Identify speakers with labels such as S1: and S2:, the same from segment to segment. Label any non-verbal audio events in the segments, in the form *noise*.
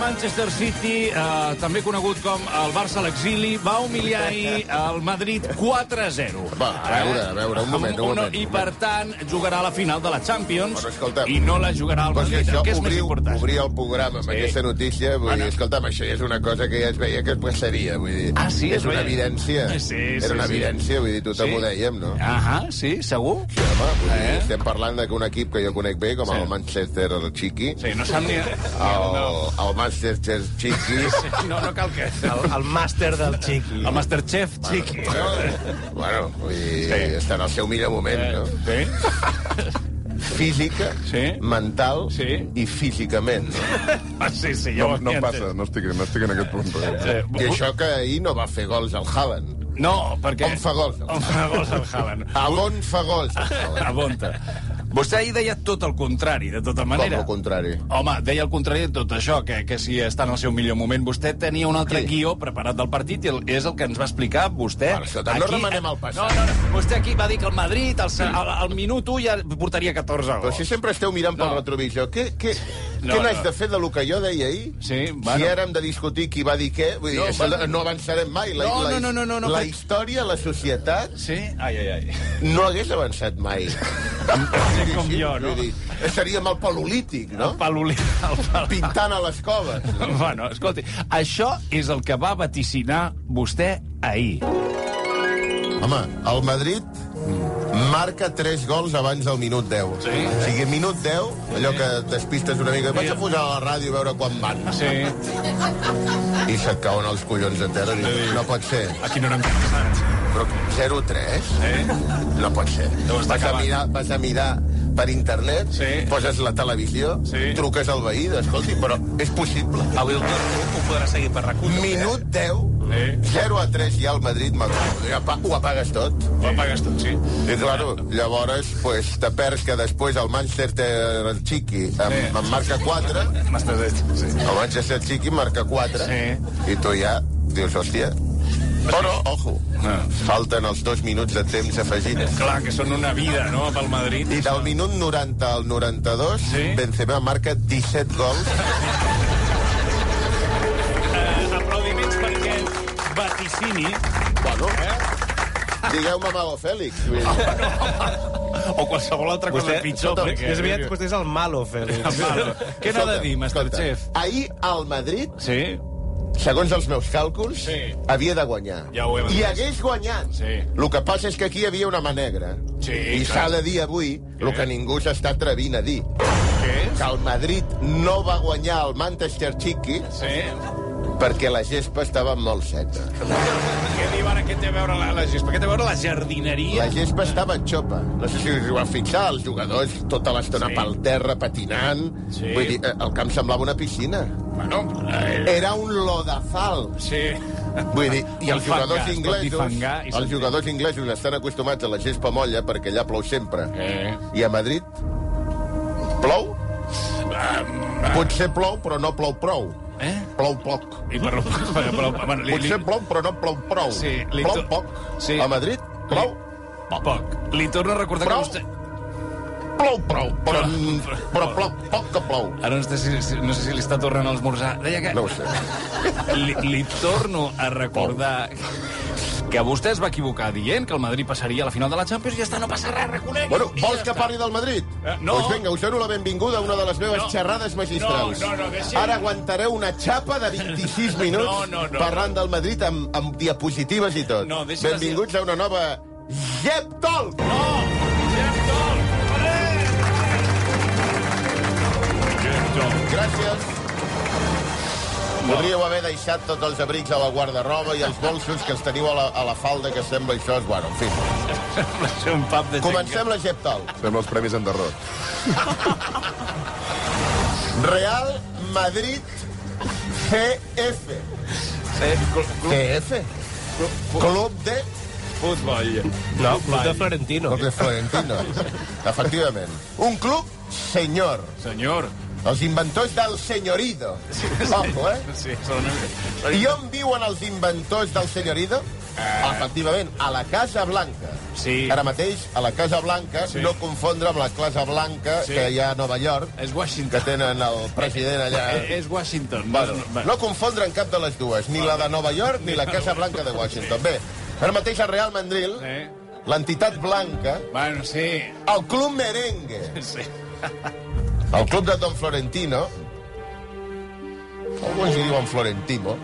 S1: Manchester City, eh, també conegut com el Barça a l'exili, va humiliar ahir el Madrid 4-0.
S2: Va, a veure, a veure, un moment, un moment,
S1: I,
S2: un moment.
S1: per tant, jugarà a la final de la Champions
S2: Però, escolta'm,
S1: i no la jugarà el
S2: Però si
S1: Madrid,
S2: això
S1: que és més
S2: obriu,
S1: important.
S2: obrir el programa amb
S1: Sí.
S2: aquesta notícia, vull
S1: Bueno.
S2: dir, escolta'm, això ja és una cosa que ja es veia que es passaria, vull dir.
S1: Ah, sí,
S2: és
S1: es veia.
S2: una evidència.
S1: Sí, sí,
S2: Era una
S1: sí.
S2: evidència, vull dir, tothom
S1: Sí.
S2: ho dèiem, no?
S1: Ahà, sí, segur?
S2: Sí, home, vull dir,
S1: Eh?
S2: estem parlant d'un equip que jo conec bé, com
S1: Sí.
S2: el Manchester Chiqui.
S1: Sí, no sap ni... *laughs*
S2: El, el Manchester Chiqui.
S1: No, no cal que...
S3: El, el màster del xiqui.
S1: El Masterchef, xic.
S2: Bueno, vull dir,
S1: Sí.
S2: està en el seu millor moment, eh, no?
S1: Sí?
S2: Física,
S1: Sí.
S2: mental
S1: Sí.
S2: i físicament. No?
S1: Ah, sí, sí, ja ho
S4: No
S1: havia
S4: passa,
S1: entès.
S4: no estic, no estic en aquest punt. Eh?
S1: Eh,
S2: I això que ahir no va fer gols al Haaland.
S1: No, perquè...
S2: On fa gols?
S1: On fa gols el Haaland.
S2: A on fa gols el Haaland?
S1: Abonta. Vostè ahir deia tot el contrari, de tota
S2: Com
S1: manera.
S2: el contrari.
S1: Home, deia el contrari de tot això, que, que si està en el seu millor moment. Vostè tenia un altre
S2: Sí.
S1: guió preparat del partit i el, és el que ens va explicar vostè.
S2: Bueno, escolta, no remenem el passat.
S1: No, no, no, vostè aquí va dir que el Madrid al, al, al minut 1 ja portaria 14
S2: Però
S1: gols.
S2: si sempre esteu mirant pel
S1: No.
S2: retrovisor, què, què,
S1: No,
S2: què n'haig
S1: no.
S2: de fer de lo que jo deia ahir?
S1: Sí,
S2: Si
S1: bueno.
S2: ara hem de discutir qui va dir què, vull dir,
S1: No,
S2: no, això
S1: bueno.
S2: no avançarem mai. La,
S1: No,
S2: la,
S1: no, no, no, no, no,
S2: la
S1: que-
S2: història, la societat,
S1: Sí? Ai, ai, ai.
S2: no hagués avançat mai.
S1: *laughs*
S2: Sí,
S1: com jo, no?
S2: Vull dir, seríem el palolític, no?
S1: Palolí, el pal... *laughs*
S2: Pintant a les coves.
S1: Bueno, escolti, això és el que va vaticinar vostè ahir.
S2: Home, el Madrid marca 3 gols abans del minut 10.
S1: Sí.
S2: O sigui, minut 10, allò que despistes una mica... Vaig a posar a la ràdio a veure quan van.
S1: Sí.
S2: I se't cauen els collons a terra. i dius, No pot ser.
S1: A quina hora hem començat?
S2: Però 0-3?
S1: Eh?
S2: No pot ser.
S1: Deu estar
S2: Vas a,
S1: acabat.
S2: mirar, vas a mirar per internet,
S1: Sí.
S2: poses la televisió,
S1: Sí.
S2: truques al veí, dius, escolti, però és possible.
S3: Avui el club ho podrà seguir per recull.
S1: eh?
S2: Minut 10,
S1: Sí.
S2: 0 a 3 ja al Madrid m'acordo. Ja pa- ho apagues tot.
S1: Ho apagues tot, sí.
S2: I, claro, llavors, pues, te perds que després el Manchester el Chiqui em,
S1: Sí.
S2: em marca 4,
S1: M'estàs dit, sí.
S2: el Manchester Chiqui marca 4,
S1: Sí.
S2: i tu ja dius, hòstia... Però, ojo,
S1: Ah.
S2: falten els dos minuts de temps afegit.
S1: Clar, que són una vida, no?, pel Madrid.
S2: I del minut 90 al 92,
S1: Sí.
S2: sí? Benzema marca 17 gols.
S1: Eh, Aplaudiments per aquest vaticini.
S2: Bueno,
S1: eh?
S2: digueu-me Mago Fèlix. vull
S1: Ah,
S2: dir.
S1: O qualsevol altra cosa
S3: Vostè-
S1: pitjor.
S2: escolta,
S1: perquè...
S3: Més aviat vostè és el malo, Fèlix.
S1: Val. Què n'ha de
S2: Escolta,
S1: dir, Masterchef?
S2: escolta, Ahir al Madrid,
S1: Sí?
S2: segons els meus càlculs,
S1: Sí.
S2: havia de guanyar.
S1: Ja ho hem
S2: I
S1: entès.
S2: hagués guanyat.
S1: Sí.
S2: El que passa és que aquí hi havia una mà negra.
S1: Sí,
S2: I
S1: clar. Eh?
S2: s'ha de dir avui el que ningú s'està atrevint a dir.
S1: Què és?
S2: Que el Madrid no va guanyar el Manchester Chiqui
S1: Sí?
S2: perquè la gespa estava molt seca.
S1: Què diuen? Què té a veure la, la gespa? Què té a veure la jardineria?
S2: La gespa estava xopa. No sé si us ho van fixar, els jugadors tota l'estona
S1: Sí.
S2: sí. pel terra, patinant.
S1: Sí.
S2: Vull dir, eh, el camp semblava una piscina.
S1: Bueno, eh,
S2: Era un lodazal.
S1: sí.
S2: Vull dir, i els
S1: Pot
S2: jugadors
S1: fangar, es pot
S2: inglesos...
S1: difangar i
S2: Els
S1: sentir.
S2: jugadors inglesos estan acostumats a la gespa molla perquè allà plou sempre.
S1: Eh.
S2: I a Madrid plou? Potser plou, però no plou prou.
S1: Eh?
S2: Plou poc.
S1: I *laughs* per... per, per bueno, li, li,
S2: Potser plou, però no plou prou.
S1: Sí, li
S2: plou
S1: to-
S2: poc.
S1: Sí.
S2: A Madrid plou,
S1: poc. Li torno a recordar
S2: Prou?
S1: que vostè...
S2: plou prou, però,
S1: Però-
S2: però plou poc que plou.
S1: Ara no, sé si, si- no sé si li està tornant a esmorzar. Deia que...
S2: No ho sé.
S1: Li, li torno a recordar que vostè es va equivocar dient que el Madrid passaria a la final de la Champions i ja està, no passa res, reconec.
S2: Bueno, vols que parli del Madrid?
S1: Eh, no.
S2: Doncs vinga, us dono la benvinguda a una de les meves
S1: No.
S2: xerrades magistrals.
S1: No, no, no, que sí.
S2: Ara aguantareu una xapa de 26
S1: *laughs*
S2: minuts
S1: No, no, no,
S2: parlant del Madrid amb, amb diapositives i tot.
S1: No, deixa-les
S2: Benvinguts a una nova Jep Talk!
S1: No! Jeff Doll! Jeff Doll.
S2: Gràcies. Podríeu haver deixat tots els abrics a la guarda-roba i els bolsos que els teniu a la, a la falda, que sembla això... És... Bueno, en fi.
S1: Sembla ser un pub de
S2: Comencem la Jep Talk.
S4: Fem els premis en derrot.
S2: Real Madrid CF.
S1: eh?
S2: CF? Club de...
S1: futbol.
S3: No, club de Florentino.
S2: Club de Florentino. Efectivament. Un club senyor.
S1: Senyor.
S2: Els inventors del senyorido. Ojo, eh?
S1: Sí, són...
S2: I on viuen els inventors del senyorido? Efectivament, a la Casa Blanca.
S1: Eh. Sí.
S2: Ara mateix, a la Casa Blanca,
S1: Sí.
S2: no confondre amb la Casa Blanca
S1: Sí.
S2: que hi ha a Nova York,
S1: És
S2: que
S1: Washington.
S2: tenen el president allà.
S1: Eh, És Washington.
S2: Bueno,
S1: va.
S2: no confondre en cap de les dues, ni la de Nova York ni la Casa Blanca de Washington. Bé, ara mateix el Real Mandril,
S1: Eh?
S2: l'entitat blanca,
S1: Bueno, sí.
S2: el Club Merengue,
S1: sí.
S2: el club de Don Florentino, alguns hi diuen Florentino,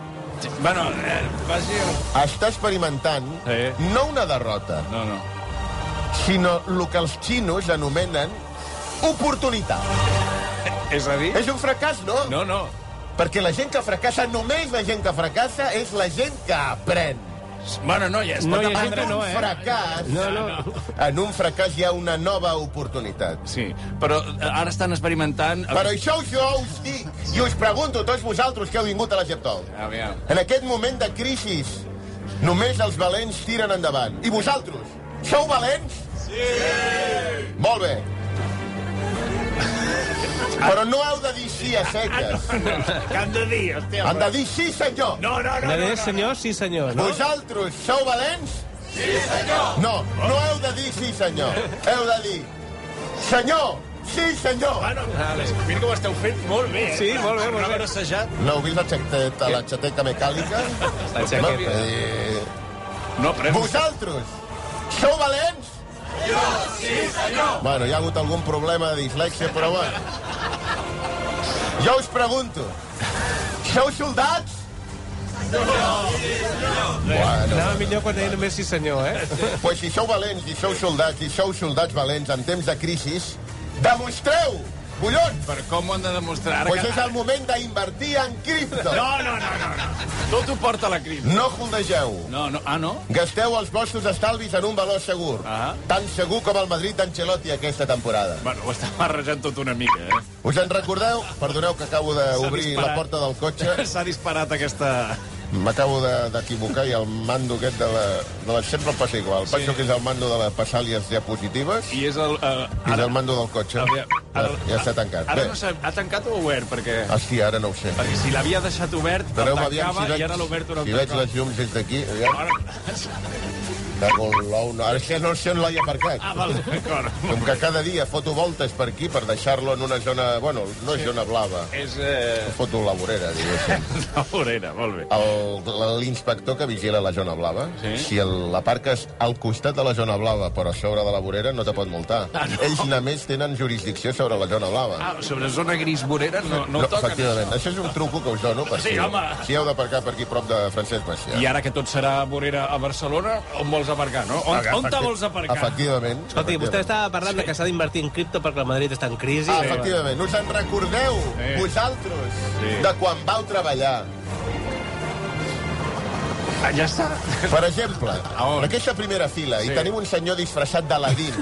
S1: Sí. Bueno, eh, faci... el-
S2: està experimentant
S1: Sí.
S2: no una derrota,
S1: No, no.
S2: sinó el que els xinos anomenen oportunitat.
S1: És a dir...
S2: És un fracàs, no?
S1: No, no.
S2: Perquè la gent que fracassa, només la gent que fracassa, és la gent que aprèn.
S1: Bueno, no, ja es
S3: No
S1: pot
S3: hi ha
S1: aprendre,
S3: gent que no,
S1: no,
S3: eh?
S1: eh?
S2: Fracàs.
S3: No, no.
S2: En un fracàs hi ha una nova oportunitat.
S1: Sí, però eh, ara estan experimentant...
S2: Però això jo us dic, i us pregunto a tots vosaltres que heu vingut a la Geptol.
S1: Aviam.
S2: En aquest moment de crisi, només els valents tiren endavant. I vosaltres, sou valents? Sí! Molt bé. Però no heu de dir sí a seques.
S1: Què han de dir, hòstia?
S2: Han de dir sí, senyor.
S1: No, no, no,
S3: De
S1: no,
S3: dir senyor, sí senyor, no?
S2: Vosaltres sou valents? Sí, senyor. No, no heu de dir sí, senyor. Heu de dir senyor, sí,
S1: Ah,
S2: senyor.
S1: Vale. Mira que ho esteu fent molt bé, eh?
S3: Sí, molt bé, molt bé.
S2: No heu vist la xaqueta, la xateca mecànica?
S3: La xaqueta.
S2: No, eh,
S1: No, però...
S2: Vosaltres sou valents? Jo, sí, senyor. Bueno, hi ha hagut algun problema de dislexia, però bueno. Jo us pregunto, sou soldats?
S3: Anava millor quan deia només sí senyor, eh?
S2: Pues si sou valents i sou soldats i sou soldats valents en temps de crisi, demostreu, collons!
S1: Però com ho han de demostrar? Ara
S2: Pues
S1: que-
S2: és el moment d'invertir en cripto.
S1: No, no, no, no, no. Tot ho porta la crisi.
S2: No holdegeu.
S1: No, no, ah, no?
S2: Gasteu els vostres estalvis en un valor segur.
S1: Ah.
S2: Tan segur com el Madrid d'Ancelotti aquesta temporada.
S1: Bueno, ho està barrejant tot una mica, eh?
S2: Us en recordeu? Perdoneu que acabo d'obrir
S1: disparat.
S2: la porta del cotxe.
S1: S'ha disparat aquesta...
S2: M'acabo de- d'equivocar i el mando aquest de la... De la sempre em passa igual. Penso que és el mando de la passar les diapositives i
S1: I és el... Eh,
S2: és el mando del cotxe.
S1: Aviam,
S2: Ja,
S1: ara-
S2: ja està tancat.
S1: Ara
S2: Bé,
S1: no s'ha... Ha tancat o ha obert? Perquè,
S2: hòstia, ara no ho sé.
S1: perquè si l'havia deixat obert, el
S2: Espereu-me aviam
S1: tancava
S2: si veig,
S1: i ara l'ha obert un
S2: si
S1: altre
S2: veig
S1: cop.
S2: les llums des d'aquí. Ja,
S1: Ara...
S2: cago en l'ou, no, ara sí, no sé on l'he aparcat.
S1: Ah, val, d'acord.
S2: Com que cada dia foto voltes per aquí per deixar-lo en una zona... Bueno, no és zona blava.
S1: És eh,
S2: Foto la vorera, diguéssim.
S1: *laughs* la vorera, molt bé.
S2: El- L'inspector que vigila la zona blava,
S1: Sí.
S2: sí. si el- l'aparques al costat de la zona blava però a sobre de la vorera, no te pot multar.
S1: Ah, no.
S2: Ells només tenen jurisdicció sobre la zona blava.
S1: Ah, sobre zona gris vorera no, no,
S2: no,
S1: ho toquen.
S2: efectivament. Això és un truco que us dono. Per
S1: Sí,
S2: si,
S1: home.
S2: si heu d'aparcar per aquí prop de Francesc Macià.
S1: I ara que tot serà vorera a Barcelona, on vols aparcar, no? On, on te vols aparcar?
S2: Efectivament.
S3: Escolti, vostè estava parlant de que s'ha d'invertir en cripto perquè el Madrid està en crisi.
S2: Ah, efectivament. Us en recordeu,
S1: Sí.
S2: vosaltres,
S1: Sí.
S2: de quan vau treballar.
S1: Ah, ja està.
S2: Per exemple,
S1: A on?
S2: en aquesta primera fila
S1: Sí.
S2: hi teniu un senyor disfressat
S1: *laughs*
S2: d'Aladín.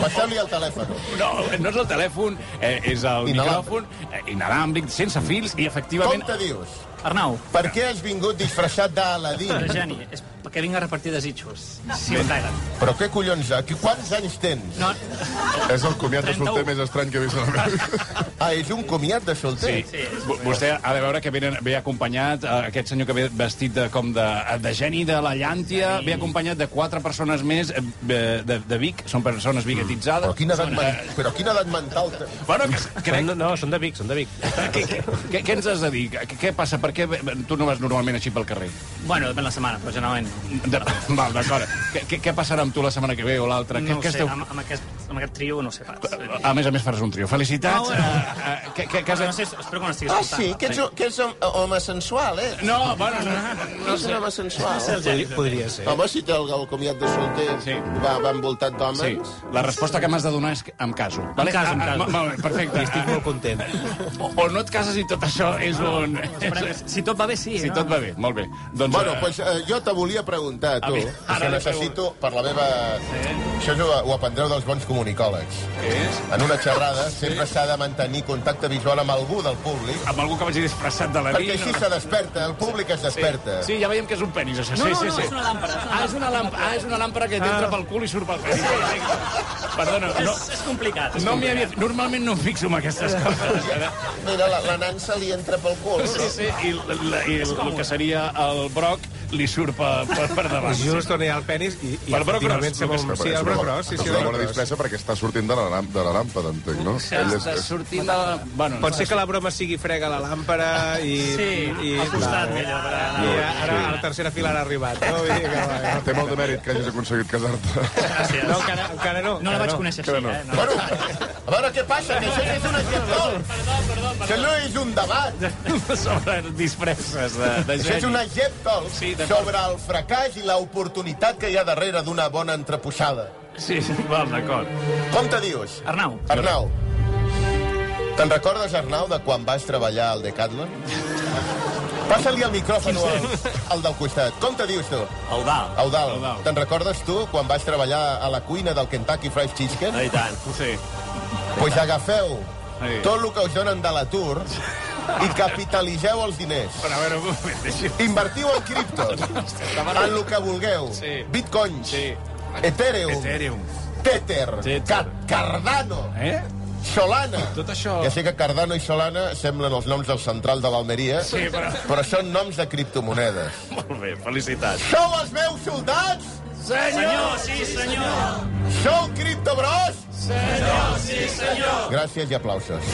S2: Passeu-li el telèfon.
S1: *laughs* No, no és el telèfon, eh, és el
S2: Inalàmbric.
S1: micròfon eh, inalàmbric, sense fils, i
S2: Com
S1: efectivament...
S2: te dius?
S5: Arnau,
S2: Per què has vingut disfressat d'Aladín?
S5: Geni, és perquè vinc a repartir desitjos. Si us agraden.
S2: Però què collons, aquí quants anys tens?
S5: No,
S4: És el comiat de solter més estrany que he vist a la meva vida.
S2: Ah, és un comiat de solter?
S1: Sí. Vo- Vostè ha de veure que ve, ve acompanyat, eh, aquest senyor que ve vestit de, com de, de geni de la llàntia, ve acompanyat de quatre persones més eh, de, de Vic, són persones biguetitzades.
S2: Però quina edat, men
S1: eh,
S2: però quina edat mental... te-
S1: Bueno, que, crec...
S3: No, no, són de Vic, són de Vic.
S1: Què, què, què- què ens has de dir? Què, què passa? Per què ve- tu no vas normalment així pel carrer?
S5: bueno, depèn la setmana, però generalment...
S1: De, val, d'acord. Què, què, què passarà amb tu la setmana que ve o l'altra?
S5: No
S1: què,
S5: ho
S1: què
S5: sé, amb, amb, aquest, amb aquest trio no ho sé pas.
S1: A més a més faràs un trio. Felicitats.
S5: Ah, bueno.
S1: Eh, eh, què, què, què
S5: Casa... No
S1: has...
S5: sé, espero que no estiguis
S6: Ah, sí? Que ets,
S5: escoltant.
S6: un- que ets un home sensual, eh?
S1: No, bueno, no, no
S6: Ets un
S1: sé.
S6: home sensual.
S5: Sí, el Geni.
S3: Podria, podria ser.
S6: Home, si té el, el comiat de solter
S1: Sí.
S6: va, va envoltat d'homes...
S1: Sí, la resposta que m'has de donar és que em caso. Vale?
S5: caso, em
S1: Ah, ah,
S5: caso.
S1: Molt bé, perfecte.
S3: Estic molt content.
S1: O, o no et cases i tot això és on...
S5: Esperem- Si tot va bé, sí. eh?
S1: Si
S5: no?
S1: tot va bé, molt bé. Doncs,
S2: Bueno,
S1: eh,
S2: pues, eh, jo te volia preguntar, a tu,
S1: mi-
S2: és
S1: ara
S2: que
S1: li
S2: necessito, per la meva... Això ho, ho aprendreu dels bons comunicòlegs.
S1: què és?
S2: En una xerrada sempre s'ha de mantenir contacte visual amb algú del públic,
S1: Amb algú que vagi disfressat de la
S2: perquè així se desperta, el públic es desperta.
S1: Sí, ja veiem que és un penis, això.
S5: No,
S1: sí,
S5: no,
S1: sí,
S5: no,
S1: sí.
S5: és una làmpara, és una
S1: Ah, és una làmpara, ah, és una làmpara que t'entra pel cul i surt pel penis. Perdona, no,
S5: És, és complicat. És
S1: no m'hi
S5: complicat.
S1: havia... Normalment no em fixo en aquestes coses. eh?
S6: Mira, la, la nansa li entra pel cul.
S1: Sí, sí, i, l- la, i el, el que seria el broc li surt per, per, per davant.
S3: Just on hi ha el penis i, i
S1: El brocros,
S3: efectivament se
S1: només
S3: vol...
S1: que
S3: Sí,
S4: Però és
S3: el
S4: una-
S3: brocros, sí, sí,
S4: és
S3: el
S4: una bona
S3: brocros.
S4: disfressa perquè està sortint de la, làmp- de la làmpada, entenc, no? Ell és,
S1: Has de
S4: és,
S1: sortir de la... Bueno,
S3: Pot ser que la broma sigui frega la làmpara i...
S5: Sí,
S3: i,
S5: al costat, aquella vegada.
S3: I ara a la tercera fila han arribat. No, Vull dir que, va,
S4: té molt de mèrit que hagis aconseguit casar-te.
S5: Gràcies.
S3: no, encara, encara no.
S5: No la vaig
S3: encara
S5: conèixer així,
S4: Encara no.
S5: eh? No.
S2: Bueno, a veure què passa, que això no és un exemple. Això no és un debat,
S1: *laughs* sobre disfresses de, de
S2: això és
S1: geni.
S2: un exemple
S1: Sí, d'acord.
S2: sobre el fracàs i l'oportunitat que hi ha darrere d'una bona entrepuixada.
S1: Sí, sí, val, d'acord.
S2: Com te dius?
S5: Arnau,
S2: Arnau. Te'n recordes, Arnau, de quan vas treballar al Decathlon? Passa-li el micròfon al, al del costat. Com te dius tu?
S7: Eudal.
S2: Eudal,
S1: Eudal.
S2: te'n recordes tu quan vas treballar a la cuina del Kentucky Fried Chicken?
S7: No, i tant.
S1: Sí.
S2: Pues agafeu
S1: Sí.
S2: tot el que us donen de l'atur i capitalitzeu els diners.
S1: Però a veure, un moment, deixi...
S2: Invertiu en criptos, en el que vulgueu.
S1: Sí.
S2: Bitcoins,
S1: Sí.
S2: Ethereum,
S1: Ethereum.
S2: Tether,
S1: Tether.
S2: Ca- Cardano,
S1: Eh?
S2: Solana.
S1: Tot això...
S2: Ja sé que Cardano i Solana semblen els noms del central de l'Almeria,
S1: Sí, però...
S2: però són noms de criptomonedes.
S1: Molt bé, felicitats.
S2: Sou els meus soldats?
S1: Senyor!
S5: sí, senyor.
S2: Sou criptobros? Senyor, sí, senyor. Gràcies i aplausos.